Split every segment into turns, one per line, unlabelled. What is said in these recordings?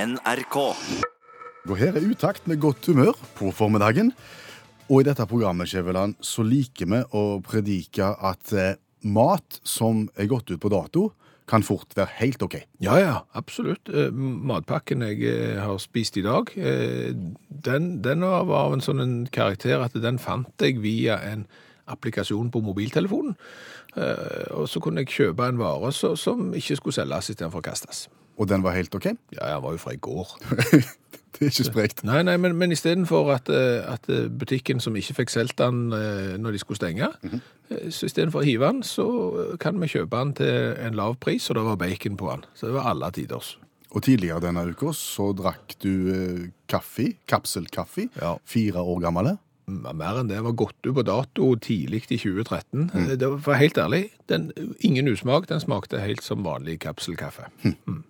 NRK.
Og her er utakt med godt humør på formiddagen. Og i dette programmet Skjæveland, så liker vi å predike at eh, mat som er gått ut på dato, kan fort være helt OK.
Ja, ja, absolutt. Eh, Matpakken jeg eh, har spist i dag, eh, den, den var av en sånn en karakter at den fant jeg via en applikasjon på mobiltelefonen. Eh, Og så kunne jeg kjøpe en vare så, som ikke skulle selges istedenfor å kastes.
Og den var helt OK?
Ja, jeg var jo fra i går.
Det er ikke sprekt.
Nei, nei, men, men istedenfor at, eh, at eh, butikken som ikke fikk solgt den eh, når de skulle stenge, eh, så istedenfor å hive den, så eh, kan vi kjøpe den til en lav pris, og det var bacon på den. Så det var alle tiders.
Og tidligere denne uka så drakk du eh, kaffe, kapselkaffe,
Ja.
fire år gamle.
mer enn det var gått ut på dato tidlig i 2013.
Mm.
Det var for helt ærlig, den, ingen usmak, den smakte helt som vanlig kapselkaffe.
Hm.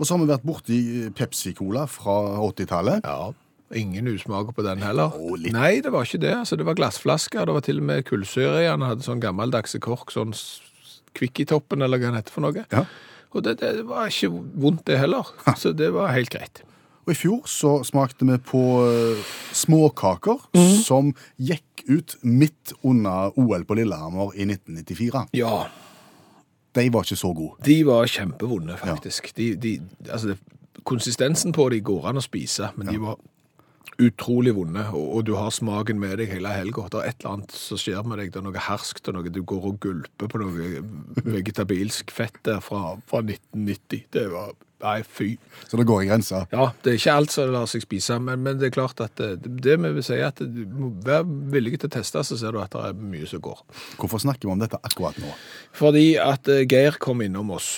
Og så har vi vært borti eh, Pepsi-Cola fra 80-tallet.
Ja, ingen usmak på den heller.
Jo, litt.
Nei, det var ikke det. Altså, det var glassflasker, det var til og med kullsyre i den, hadde sånn gammeldagse kork, sånn s- kvikk i toppen, eller hva det heter for noe.
Ja.
Og det, det var ikke vondt det heller, så det var helt greit.
Og i fjor så smakte vi på eh, småkaker
Mhm.
som gikk ut midt under OL på Lillehammer i 1994.
Ja,
De var ikke så gode.
De var kjempevonde, faktisk. De, de, altså, det, konsistensen på de går an å spise, men de var utrolig vonde, og, og du har smaken med deg hele helga. Det er et eller annet som skjer med deg, det er noe herskt og noe du går og gulper på noe vegetabilsk fett der fra, fra 1990. Det var Nei, fy.
Så det går i grensa.
Ja, det er ikke alt som lar seg spise, men, men det er klart at eh, det, det vi vil si, er at du må være villig til å teste, så ser du at det er mye som går.
Hvorfor snakker vi om dette akkurat nå?
Fordi at eh, Geir kom innom oss,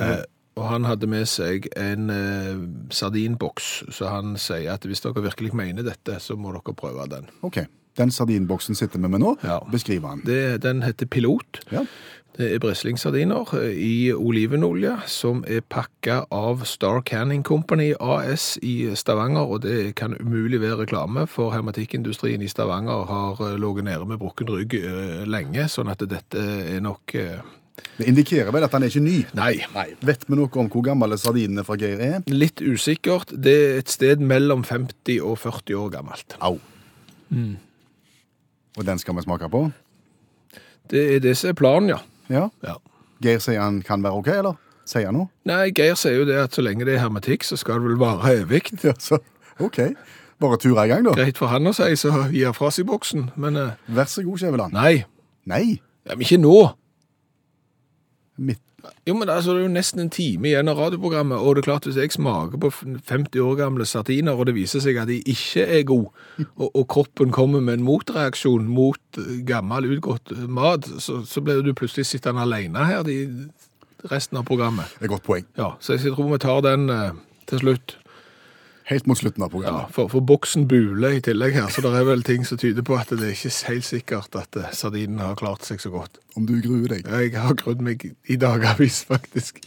eh, og han hadde med seg en eh, sardinboks, så han sier at hvis dere virkelig mener dette, så må dere prøve den.
Ok, Den sardinboksen sitter vi med nå.
Ja.
Beskriv den.
Det, den heter Pilot.
Ja.
Det er breslingsardiner eh, i olivenolje, som er pakka av Star Canning Company AS i Stavanger, og det kan umulig være reklame, for hermetikkindustrien i Stavanger har eh, ligget nede med brukken rygg eh, lenge, sånn at dette er nok eh,
Det indikerer vel at den er ikke ny.
Nei. Nei.
Vet vi noe om hvor gamle sardinene fra Geir er?
Litt usikkert. Det er et sted mellom 50 og 40 år gammelt.
Au.
Mm.
Og den skal vi smake på?
Det er det som er planen, ja.
Ja.
ja.
Geir sier han kan være OK, eller? Sier han noe?
Nei, Geir sier jo det at så lenge det er hermetikk, så skal det vel vare evig.
Ja, så OK. Bare ture i gang, da.
Greit for han å si, så gir han fra seg boksen, men eh,
Vær så god, Skjæveland.
nei.
Nei.
Ja, men ikke nå.
Midt.
Jo, men altså, Det er jo nesten en time igjen av radioprogrammet, og det er klart hvis jeg smaker på 50 år gamle sardiner, og det viser seg at de ikke er gode, og, og kroppen kommer med en motreaksjon mot eh, gammel, utgått eh, mat, så, så blir du plutselig sittende alene her de, resten av programmet.
Et godt poeng.
Ja, Så jeg tror vi tar den eh, til slutt.
Helt mot slutten av
Ja,
programmet.
For, for boksen buler i tillegg her, så det er vel ting som tyder på at det er ikke helt sikkert at eh, sardinen har klart seg så godt.
Om du gruer deg.
Jeg har grudd meg i dagavis, faktisk.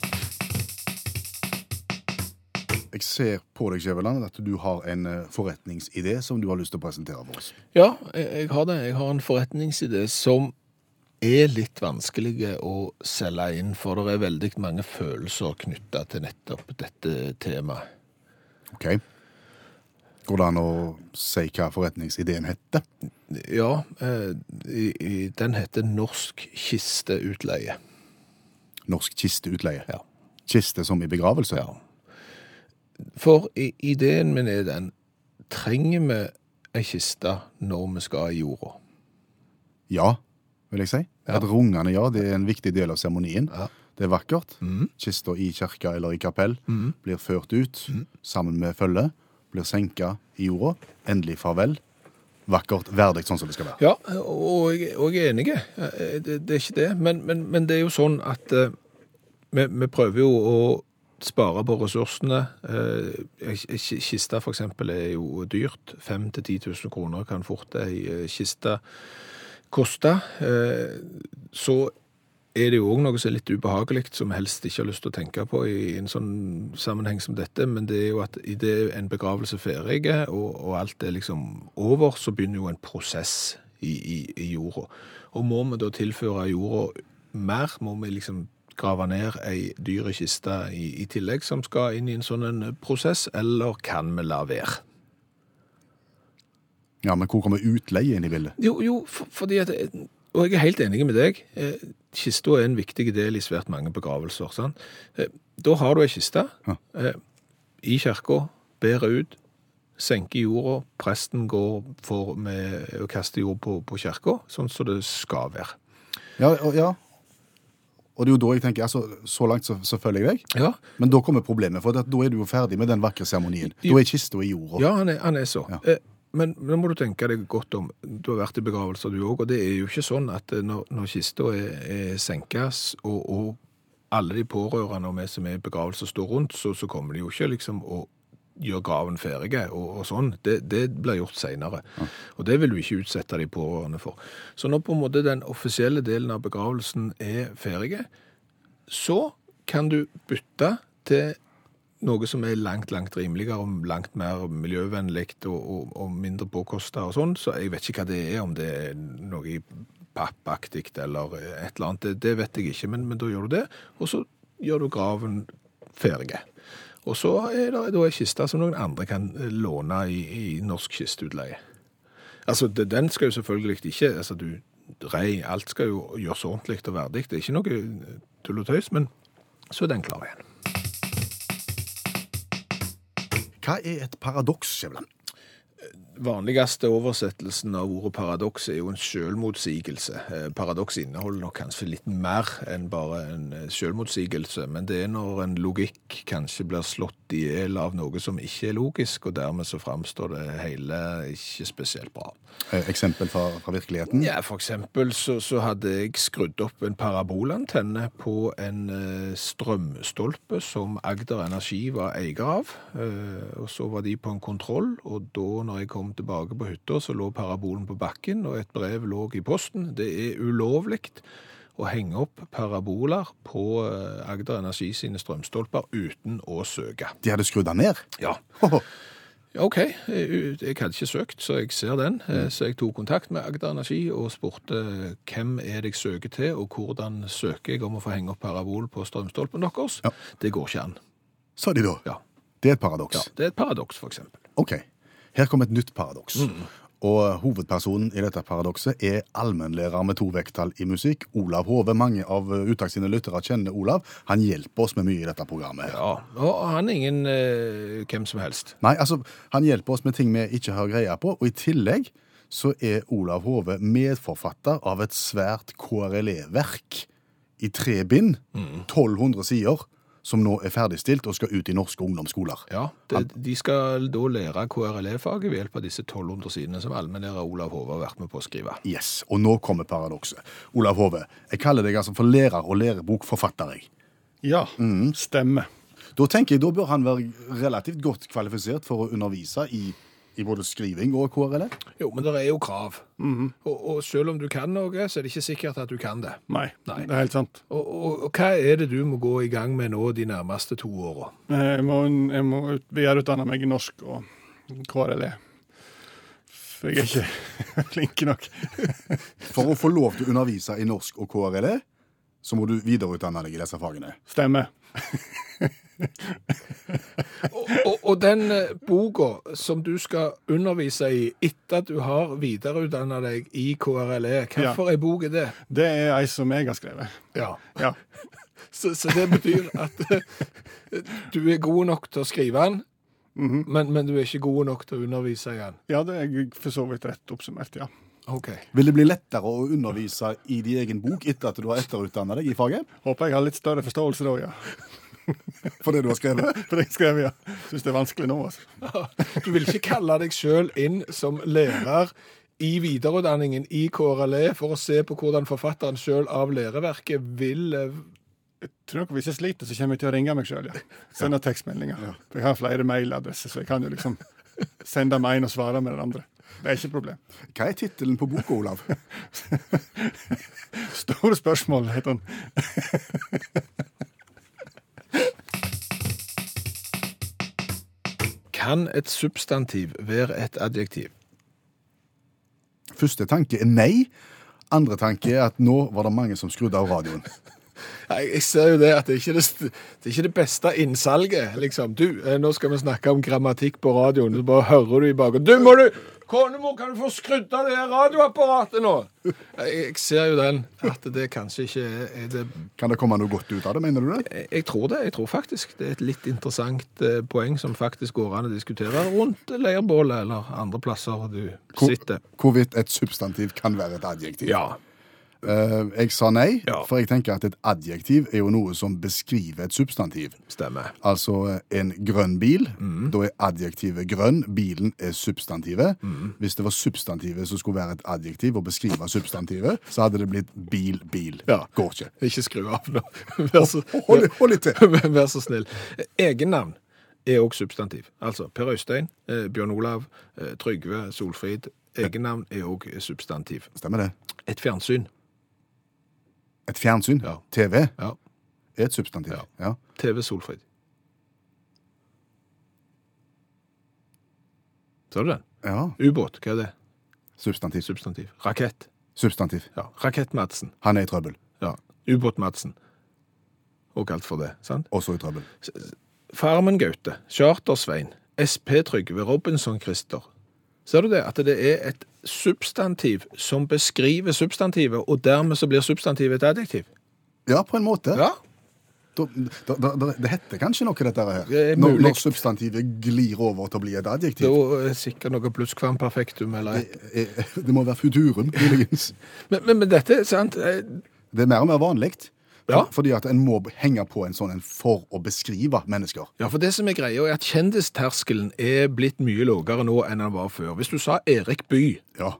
Jeg ser på deg, Skjæveland, at du har en eh, forretningsidé som du har lyst til å presentere for oss.
Ja, jeg, jeg har det. Jeg har en forretningsidé som er litt vanskelig å selge inn, for det er veldig mange følelser knytta til nettopp dette temaet.
Ok. Går det an å si hva forretningsideen heter?
Ja, eh, i, i, den heter Norsk kisteutleie.
Norsk kisteutleie.
Ja.
Kiste som i begravelse?
ja. For i, ideen min er den trenger vi ei kiste når vi skal i jorda?
Ja, vil jeg si.
Ja.
Et rungende ja, det er en viktig del av seremonien.
Ja.
Det er vakkert.
Mhm.
Kista i kirka eller i kapell
Mhm.
blir ført ut
Mm.
sammen med følge, blir senka i jorda. Endelig farvel. Vakkert, verdig, sånn som det skal være.
Ja, og jeg, og jeg er enig. Eh, Det, det er ikke det. Men, men, men det er jo sånn at eh, vi, vi prøver jo å spare på ressursene. Eh, ei ki- Kiste for eksempel er jo dyrt. 5 til 10 000 kroner kan fort ei eh, kiste koste. Eh, Så er det jo òg noe som er litt ubehagelig, som jeg helst ikke har lyst til å tenke på i en sånn sammenheng som dette, men det er jo at idet en begravelse er ferdig, og, og alt er liksom over, så begynner jo en prosess i, i, i jorda. Og må vi da tilføre jorda mer, må vi liksom grave ned ei dyre kiste i, i tillegg som skal inn i en sånn en prosess, eller kan vi la være?
Ja, men hvor kommer utleie inn i bildet?
Jo, jo for, fordi at Og jeg er helt enig med deg. Eh, Kista er en viktig del i svært mange begravelser. Sant? Eh, Da har du ei kiste
Ja.
eh, i kirka, bærer ut, senker jorda, presten går for med å kaste jord på, på kirka, sånn som det skal være.
Ja, og, ja. og det er jo da jeg tenker, altså, så langt så, så følger jeg deg.
Ja,
Men da kommer problemet, for at da er du jo ferdig med den vakre seremonien. Da er kista i jorda.
Ja, han er, han er så.
Ja.
Eh, Men nå må du tenke deg godt om. Du har vært i begravelser du òg, og det er jo ikke sånn at eh, når, når kista er, er senka, s- og, og alle de pårørende og vi som er i begravelser står rundt, så, så kommer de jo ikke liksom å gjøre graven ferdig og, og sånn. Det, det blir gjort seinere. Og det vil du ikke utsette de pårørende for. Så når på en måte den offisielle delen av begravelsen er ferdig, så kan du bytte til noe som er langt, langt rimeligere og langt mer miljøvennlig og, og, og mindre påkosta og sånn, så jeg vet ikke hva det er, om det er noe i pappaktig eller et eller annet, det, det vet jeg ikke, men, men da gjør du det, og så gjør du graven ferdig. Og så er det da en kiste som noen andre kan låne i, i norsk kisteutleie. Altså, det- den skal jo selvfølgelig ikke altså, du, Rei, alt skal jo gjøres ordentlig og verdig. Det er ikke noe tull og tøys, men så er den klar igjen.
Hva er et paradoks, Skjæveland?
vanligste oversettelsen av ordet paradoks er jo en selvmotsigelse. Eh, Paradoks inneholder nok kanskje litt mer enn bare en eh, selvmotsigelse, men det er når en logikk kanskje blir slått i hjel av noe som ikke er logisk, og dermed så framstår det hele ikke spesielt bra.
Eh, Eksempel fra, fra virkeligheten?
Ja, for eksempel så, så hadde jeg skrudd opp en parabolantenne på en eh, strømstolpe som Agder Energi var eier av. Eh, og så var de på en kontroll, og da når jeg kom tilbake på hytta, så lå parabolen på bakken, og et brev lå i posten. Det er ulovlig å henge opp paraboler på eh, Agder Energi sine strømstolper uten å søke.
De hadde skrudd den ned?
Ja. Ja, OK, jeg jeg hadde ikke søkt, så jeg ser den. Eh, Så jeg tok kontakt med Agder Energi og spurte eh, hvem er det jeg søker til, og hvordan søker jeg om å få henge opp parabol på strømstolpen deres.
Ja.
Det går ikke an.
Sa de da.
Ja.
Det er et paradoks.
ja. Det er et paradoks, for eksempel.
Ok, her kommer et nytt paradoks. Og hovedpersonen i dette paradokset er allmennlærer med to vekttall i musikk, Olav Hove. Mange av eh, Utakt sine lyttere kjenner Olav. Han hjelper oss med mye i dette programmet. her.
Ja. Og han er ingen eh, hvem som helst.
Nei, altså, han hjelper oss med ting vi ikke har greie på, og i tillegg så er Olav Hove medforfatter av et svært KRLE-verk i tre bind, 1200 sider, som nå er ferdigstilt og skal ut i norske ungdomsskoler.
Ja, det, De skal da lære KRLE-faget ved hjelp av disse 1200 sidene som allmennlærer Olav Hove har vært med på å skrive.
Yes, og nå kommer paradokset. Olav Hove, jeg kaller deg altså for lærer og lærebokforfatter. jeg.
Ja, stemmer.
Da tenker jeg, da bør han være relativt godt kvalifisert for å undervise i, i både skriving og KRL.
Jo, men det er jo krav. og, og selv om du kan noe, så er det ikke sikkert at du kan det.
Nei,
Nei.
det er helt sant.
Og, og, og hva er det du må gå i gang med nå de nærmeste to åra?
Eh, Jeg må, jeg må ut- videreutdanne meg i norsk og KRLE. For jeg er ikke flink nok.
For å få lov til å undervise i norsk og KRL, så må du videreutdanne deg i disse fagene.
Stemmer.
Og, og, og den eh, boka som du skal undervise i etter at du har videreutdanna deg i KRLE, E, hvorfor er bok er det?
Det er ei som jeg har skrevet.
Ja.
Ja.
Så, så det betyr at eh, du er god nok til å skrive den, men, men du er ikke god nok til å undervise i den.
ja, det er for så vidt rett oppsummert, ja.
OK.
Vil det bli lettere å undervise i din egen bok etter at du har etterutdannet deg i faget?
Håper jeg har litt større forståelse da, ja.
For det du har skrevet?
For det jeg skrev, ja. Syns det er vanskelig nå, altså.
Du vil ikke kalle deg sjøl inn som lærer i videreutdanningen i KRLE E for å se på hvordan forfatteren sjøl av læreverket vil eh,
Tror dere hvis jeg sliter, så kommer jeg til å ringe meg sjøl, ja. Sende tekstmeldinger. For jeg har flere mailadresser, så jeg kan jo liksom sende med en og svare med den andre. Det er ikke et problem.
Hva er tittelen på boka, Olav?
Store spørsmål, heter han.
Kan et substantiv være et adjektiv?
Første tanke er nei. Andre tanke er at nå var det mange som skrudde av radioen.
Jeg jeg ser jo det at det er ikke det, st- det, er ikke det beste innsalget, liksom. Du, eh, nå skal vi snakke om grammatikk på radioen, så bare hører du i bakgrunnen. Du, må du Konemor, kan du få skrudd av det her radioapparatet nå? Jeg, jeg ser jo den, at det kanskje ikke er- er det
Kan det komme noe godt ut av det, mener du det?
Jeg jeg tror det. jeg tror faktisk. Det er et litt interessant eh, poeng som faktisk går an å diskutere rundt leirbålet eller andre plasser du
Hvor-
sitter.
Hvorvidt et substantiv kan være et adjektiv.
Ja.
Eh, jeg sa nei,
Ja.
for jeg tenker at et adjektiv er jo noe som beskriver et substantiv.
Stemmer.
Altså eh, en grønn bil.
Mm.
Da er adjektivet grønn, bilen er substantivet.
Mm.
Hvis det var substantivet som skulle være et adjektiv og beskrive substantivet, så hadde det blitt bil, bil.
Ja.
Går ikke.
Ikke skru av nå. Vær så,
Hold, hold litt til.
Vær vær så snill. Egennavn er òg substantiv. Altså Per Øystein, eh, Bjørn Olav, eh, Trygve, Solfrid. Egennavn er òg substantiv.
Stemmer det.
Et fjernsyn.
Et fjernsyn,
Ja.
TV,
Ja.
er et substantiv.
Ja.
Ja.
TV Solfrid. Så du den?
ja.
Ubåt, hva er det?
Substantiv.
Substantiv. Rakett.
Substantiv.
Ja. Rakett-Madsen.
Han er i trøbbel.
Ja. Ubåt-Madsen. Og kalt for det, sant?
Også i trøbbel.
Farmen Gaute, Charter-Svein, SP Trygve, Robinson-Christer. Ser du det? At det er et substantiv som beskriver substantivet, og dermed så blir substantivet et adjektiv.
Ja, på en måte.
Ja.
Da, da, da, da, det heter kanskje noe, dette her.
Det er
Når,
mulig.
når substantivet glir over til å bli et
Det
adjektiv.
er jo eh, sikkert noe plusskvam perfektum eller et.
Det, det må være futuren, muligens.
Men, men, men dette, sant? Eh,
Det er mer og mer vanlig.
Ja.
Fordi at en må henge på en sånn en for å beskrive mennesker.
Ja, for det som er greia er at kjendisterskelen er blitt mye lågere nå enn den var før. Hvis du sa Erik By,
Ja.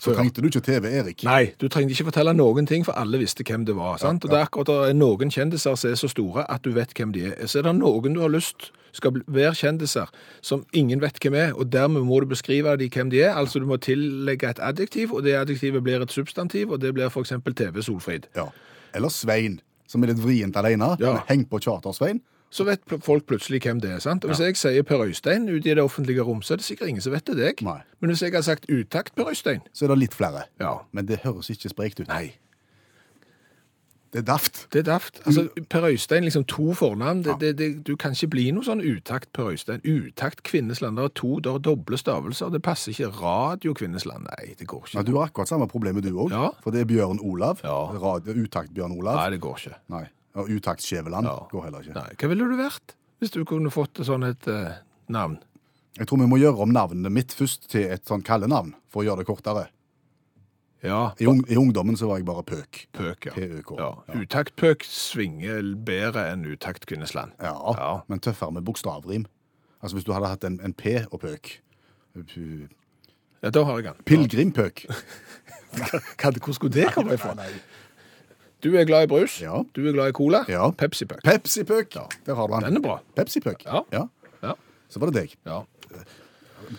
Så
Ja.
trengte du ikke TV-Erik.
Nei, du trengte ikke fortelle noen ting, for alle visste hvem det var. sant? Og det er akkurat det er noen kjendiser som er så store at du vet hvem de er. Så er det noen du har lyst skal bli- være kjendiser som ingen vet hvem er, og dermed må du beskrive de hvem de er. Altså du må tillegge et adjektiv, og det adjektivet blir et substantiv, og det blir f.eks. TV Solfrid.
Ja. Eller Svein, som er litt vrient alene.
Ja.
Men Heng på Charter-Svein.
Så vet pl- folk plutselig hvem det er. sant? Og Hvis jeg sier Per Øystein ute i det offentlige rom, så er det sikkert ingen som vet det er deg.
Nei.
Men hvis jeg har sagt utakt Per Øystein
Så er det litt flere.
Ja.
Men det høres ikke sprekt ut.
Nei.
Det er daft.
Det er daft. Altså, per Øystein, liksom to fornavn. Det, det, det, du kan ikke bli noe sånn utakt Per Øystein. Utakt Kvinnesland. Det er to, det er doble stavelser. Det passer ikke. Radio Kvinnesland. Nei, det går
Ja,
ikke.
du har akkurat samme problemet du òg.
Ja.
For det er Bjørn Olav.
Ja.
Radio, utakt Bjørn Olav.
Nei, det går ikke.
Nei. Og utakt Skjæveland
Ja.
går heller ikke.
Nei. Hva ville du vært hvis du kunne fått sånn et eh, navn?
Jeg tror vi må gjøre om navnet mitt først til et sånn kallenavn, for å gjøre det kortere.
Ja,
I, ung, I ungdommen så var jeg bare pøk.
Pøk, ja.
P-Ø-K.
ja. Utakt Pøk svinger bedre enn utakt Kvinnesland.
Ja,
Ja.
Men tøffere med bokstavrim. Altså hvis du hadde hatt en, en P og pøk. P-
Ja, da har jeg den.
Pilegrimpøk.
Hva- Hvor skulle det komme ifra? Du er glad i brus.
Ja.
Du er glad i cola.
Ja.
Pepsi Pøk.
Pepsipøk. Der har du han.
Den er bra.
Pepsipøk.
Ja. Ja.
Så var det deg.
ja.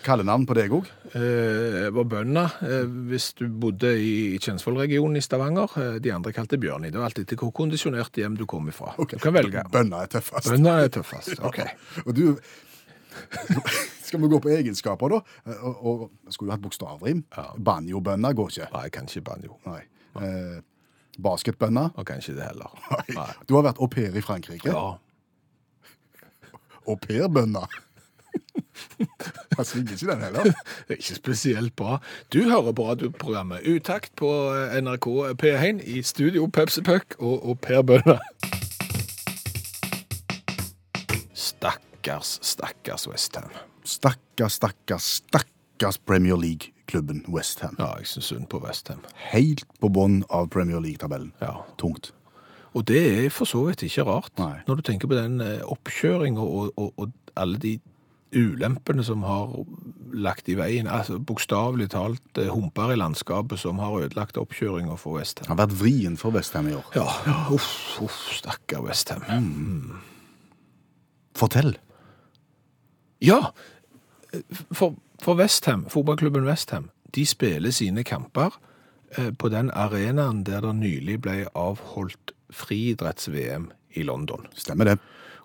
Kallenavn på deg òg?
Eh, var bønder eh, hvis du bodde i Kjensvollregionen i Stavanger. Eh, de andre kalte Bjørni. Det var alltid til hvor kondisjonert hjem du kom ifra. Du kan velge.
Bønna er tøffest.
Bønder er tøffest. Ok.
Og du Skal vi gå på egenskaper, da? Og, og, skulle jo hatt bokstavrim. Banjobønner går ikke.
Nei, jeg kan ikke banjo.
Nei. Eh, Basketbønner?
Og kan ikke det heller.
Nei. Du har vært au pair i Frankrike.
Ja.
Au pair-bønner. Han svinger ikke den heller.
Det er Ikke spesielt bra. Du hører på radioprogrammet Utakt på eh, NRK P1 i studio Pepsi Puck og, og Per Bønder. Stakkars, stakkars Westham.
Stakkars, stakkars, stakkars Premier League-klubben Westham.
Ja, jeg syns synd på Westham.
Helt på bånn av Premier League-tabellen.
Ja.
Tungt.
Og det er for så vidt ikke rart,
Nei.
når du tenker på den oppkjøringa og, og, og alle de ulempene som har lagt i veien. altså Bokstavelig talt eh, humper i landskapet som har ødelagt oppkjøringa for Westham.
Han har vært vrien for Westham i år.
Ja, uff, uff, stakkar Westham.
Fortell.
Ja, for, for Westham, fotballklubben Westham, de spiller sine kamper eh, på den arenaen der det nylig ble avholdt friidretts-VM i London.
Stemmer det.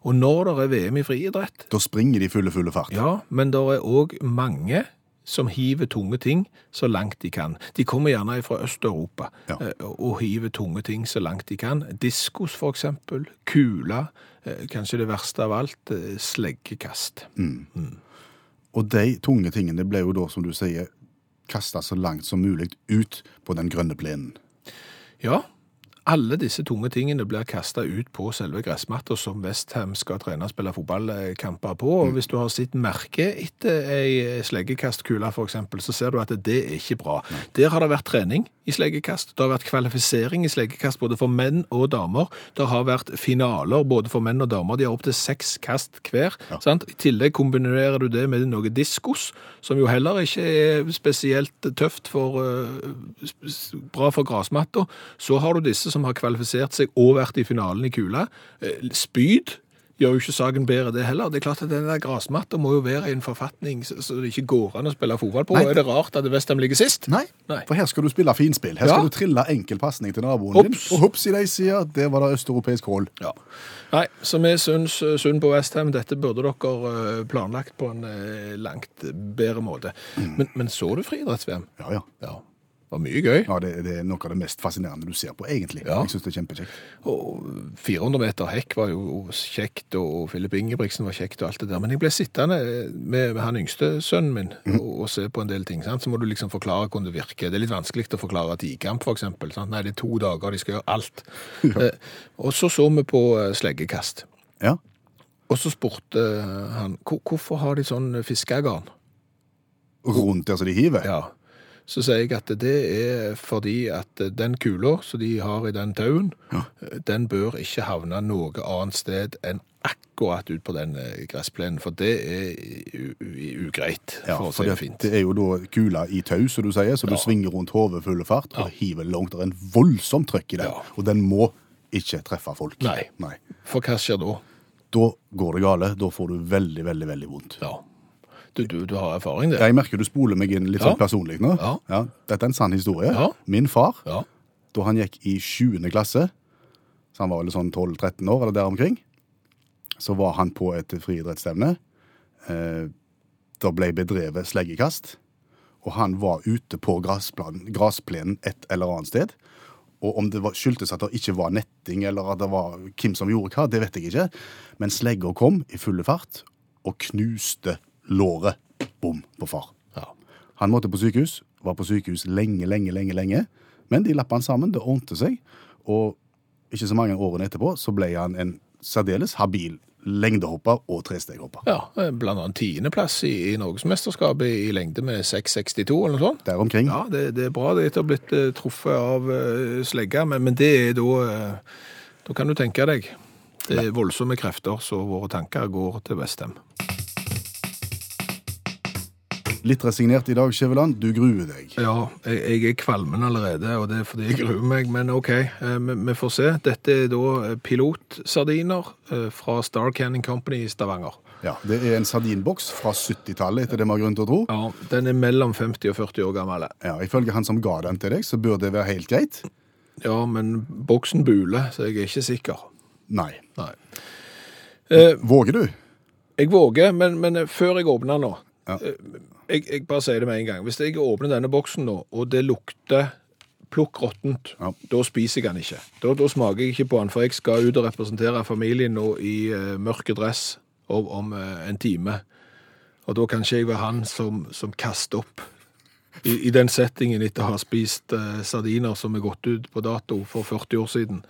Og når det er VM i friidrett,
Da springer de i fulle, fulle fart.
Ja, men det er òg mange som hiver tunge ting så langt de kan. De kommer gjerne fra Øst-Europa
Ja.
eh, og og hiver tunge ting så langt de kan. Diskos, for eksempel. Kula. eh, Kanskje det verste av alt, eh, sleggekast.
Mm.
Mm.
Og de tunge tingene ble jo da, som du sier, kasta så langt som mulig ut på den grønne plenen.
Ja, alle disse tunge tingene blir kasta ut på selve gressmatta som Westham skal trene og spille fotballkamper på. Og hvis du har sett merket etter ei sleggekastkule, f.eks., så ser du at det er ikke bra. Der har det vært trening i sleggekast. Det har vært kvalifisering i sleggekast både for menn og damer. Det har vært finaler både for menn og damer. De har opptil seks kast hver. Sant? I tillegg kombinerer du det med noe diskos, som jo heller ikke er spesielt tøft for eh, sp- s- bra for grasmatta. Så har du disse som har kvalifisert seg og vært i finalen i kula. Eh, Spyd gjør jo ikke saken bedre, det heller. Det er klart at den der grasmatta må jo være i en forfatning så så det ikke går an å spille fotball på.
Nei,
Er det rart at Westham ligger sist?
Nei,
Nei.
for her skal du spille finspill. Her
Ja.
skal du trille enkel pasning til naboen
Hops.
din. Og hops i de sida, der var det østeuropeisk hull.
Ja. Nei, så vi syns eh, synd på Westham. Dette burde dere eh, planlagt på en eh, langt bedre måte. Men, men så du friidretts-VM?
Ja, ja.
Ja. Det var mye gøy.
ja det, det er noe av det mest fascinerende du ser på, egentlig.
Ja.
Jeg syns det er kjempekjekt.
Og 400 meter hekk var jo kjekt, og Filip Ingebrigtsen var kjekt, og alt det der. Men jeg ble sittende eh, med, med han yngste sønnen min og, og se på en del ting. Sant? Så må du liksom forklare hvordan det virker. Det er litt vanskelig å forklare tikamp, for eksempel. Sant? Nei, det er to dager, de skal gjøre alt. Eh, og så så vi på eh, sleggekast.
Ja.
Og så spurte eh, han "Hvor- hvorfor har de sånn fiskegarn.
Rundt der som de hiver.
Ja. Så sier jeg at det er fordi at den kula som de har i den tauen, den bør ikke havne noe annet sted enn akkurat ut på den eh, gressplenen, for det er u- u- ugreit,
Ja,
for å
for
si
det,
det fint.
det er jo da kula i tau, som du sier, så du svinger rundt hodet full fart og hiver langt. Det er en voldsomt trøkk i den,
Ja.
og den må ikke treffe folk.
Nei.
Nei.
For hva skjer da?
Da går det gale. Da får du veldig, veldig veldig vondt.
Ja. Du, du, du har erfaring der?
Jeg merker du spoler meg inn litt
Ja.
sånn personlig nå.
Ja.
Dette er en sann historie.
Ja.
Min far,
Ja.
da han gikk i 7. klasse, så han var vel sånn 12-13 år eller der omkring, så var han på et friidrettsstevne. Eh, da ble bedrevet sleggekast, og han var ute på grasplan- grasplenen et eller annet sted. Og om det var, skyldtes at det ikke var netting, eller at det var hvem som gjorde hva, det vet jeg ikke. Men slegga kom i fulle fart og knuste låret. Bom på far.
Ja.
Han måtte på sykehus, var på sykehus lenge, lenge, lenge, lenge. Men de lappa han sammen, det ordnet seg. Og ikke så mange årene etterpå så ble han en særdeles habil lengdehopper og tresteghopper.
ja. eh, Blant annet tiendeplass i, i Norgesmesterskapet i lengde med 6,62 eller noe sånt.
Der omkring.
Ja, det, det er bra det etter å ha blitt eh, truffet av eh, slegga, men, men det er da eh, Da kan du tenke deg. Det er voldsomme krefter, så våre tanker går til Vestheim.
Litt resignert i dag, Skjæveland. Du gruer deg.
Ja, jeg, jeg er kvalmen allerede, og det er fordi jeg gruer meg, men OK, eh, vi vi får se. Dette er da eh, pilotsardiner eh, fra Star Canning Company i Stavanger.
Ja, Det er en sardinboks fra 70-tallet, etter det vi har grunn til å tro.
Ja, Den er mellom 50 og 40 år gammel.
Ja, Ifølge han som ga den til deg, så bør det være helt greit.
Ja, men boksen buler, så jeg er ikke sikker.
Nei.
Nei. Eh,
Våger du?
Jeg våger, men, men før jeg åpner nå
Ja.
eh, jeg, jeg bare sier det med en gang. Hvis jeg åpner denne boksen nå, og det lukter plukk råttent,
Ja.
da spiser jeg den ikke. Da, da smaker jeg ikke på den, for jeg skal ut og representere familien nå i eh, mørke dress om, om eh, en time. Og da kan ikke jeg være han som, som kaster opp i, i den settingen etter å ha spist eh, sardiner som er gått ut på dato for 40 år siden.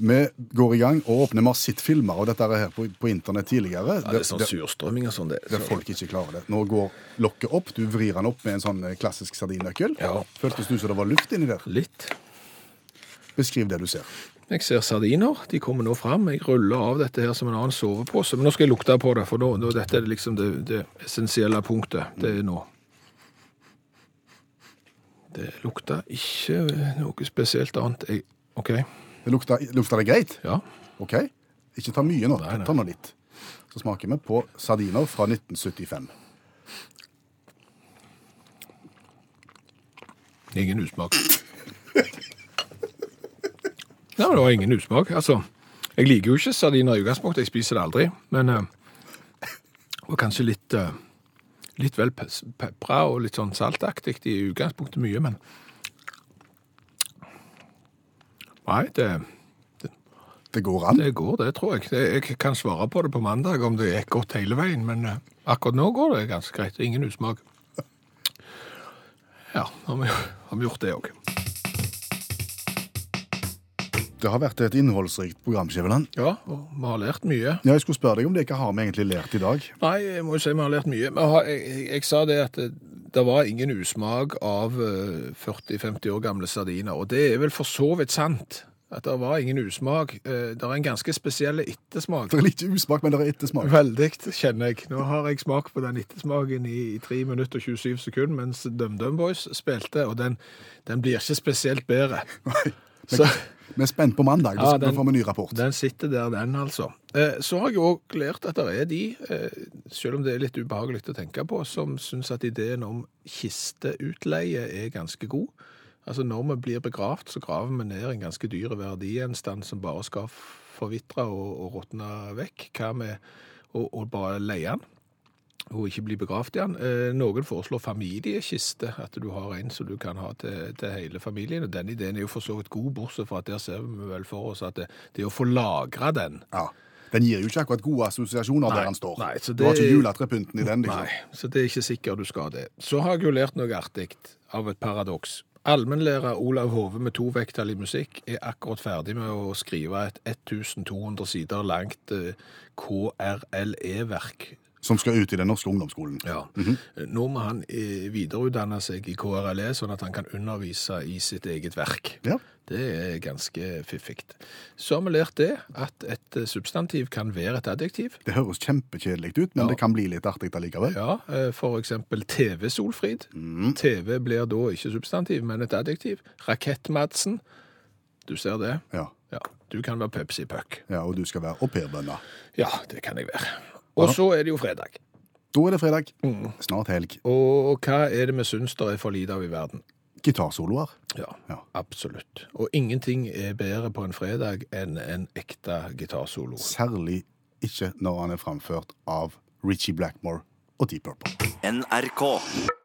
Vi går i gang og åpner. Vi har sett filmer av dette her på, på internett tidligere.
Ja, det er sånn surstrømming og sånn. Det,
Der folk ikke klarer det. Nå går lokket opp, du vrir den opp med en sånn eh, klassisk sardinnøkkel.
Ja.
Føltes du som det var luft inni der?
Litt.
Beskriv det du ser.
Jeg ser sardiner. De kommer nå fram. Jeg ruller av dette her som en annen sovepose. Men nå skal jeg lukte på det, for nå, nå, dette er liksom det, det essensielle punktet. Det er nå. Det lukter ikke noe spesielt annet. Jeg, OK.
Det lukta, lukta det greit?
Ja.
OK? Ikke ta mye nå.
Nei, nei.
Ta nå litt. Så smaker vi på sardiner fra 1975.
Ingen usmak. Nei, men det var ingen usmak. Altså, jeg liker jo ikke sardiner i utgangspunktet. Jeg spiser det aldri. Men eh, det var kanskje litt, eh, litt vel pes- pepra og litt sånn saltaktig i utgangspunktet mye, men Nei, det,
Det går an.
det går, det, tror jeg. Det- Jeg kan svare på det på mandag om det gikk godt hele veien, men eh, akkurat nå går det ganske greit. Ingen usmak. Ja, har vi, har vi gjort det òg.
Det har vært et innholdsrikt program, Skjæveland.
Ja, og vi har lært mye.
Ja, jeg skulle spørre deg om det. Hva har vi egentlig lært i dag?
Nei, jeg må jo si vi har lært mye. Vi har, jeg, jeg, jeg sa det at det, det var ingen usmak av eh, 40-50 år gamle sardiner, og det er vel for så vidt sant. At det var ingen usmak. Eh, Det er en ganske spesiell ettersmak.
Det er litt usmak, men det er ettersmak.
Veldig, kjenner jeg. Nå har jeg smak på den ettersmaken i, i 3 minutter og 27 sekunder mens DumDum Boys spilte, og den, den blir ikke spesielt bedre. Så,
Vi er spent på mandag. Da
Ja,
skal- da
den-
får vi ny rapport.
den sitter der, den altså. Eh, Så har jeg òg lært at det er de, eh, selv om det er litt ubehagelig å tenke på, som syns at ideen om kisteutleie er ganske god. Altså Når vi blir begravd, så graver vi ned en ganske dyr verdigjenstand som bare skal forvitre og, og råtne vekk. Hva med å å bare leie den? og ikke bli begravd igjen. Eh, noen foreslår familiekiste, at du har en som du kan ha til, til hele familien. og Den ideen er jo for så vidt god, bortsett fra at der ser vi vel for oss at det, det å få lagra den
Ja. Den gir jo ikke akkurat gode assosiasjoner
Nei,
der han står.
nei, så
Du har
det-
ikke juletrepynten i den, liksom.
Nei, så det er ikke sikkert du skal det. Så har jeg jo lært noe artig av et paradoks. Allmennlærer Olav Hove med to vekttall i musikk er akkurat ferdig med å skrive et 1200 sider langt eh, KRLE-verk
Som skal ut i den norske ungdomsskolen.
Ja. Nå må han eh, videreutdanne seg i KRLE, sånn at han kan undervise i sitt eget verk.
Ja.
Det er ganske fiffig. Så har vi lært det, at et eh, substantiv kan være et adjektiv.
Det høres kjempekjedelig ut, men
Ja.
det kan bli litt artig allikevel.
Ja, eh, for eksempel TV-Solfrid. TV blir da ikke substantiv, men et adjektiv. Rakett-Madsen. Du ser det?
Ja.
Ja. Du kan være Pepsi Puck.
ja, og du skal være aupairvenner.
Ja, det kan jeg være. Og så er det jo fredag.
Da er det fredag. Snart helg.
Og hva er det vi syns det er for lite av i verden?
Gitarsoloer.
Ja,
Ja.
absolutt. Og ingenting er bedre på en fredag enn en ekte gitarsolo.
Særlig ikke når han er framført av Richie Blackmore og Deep Purple.
NRK.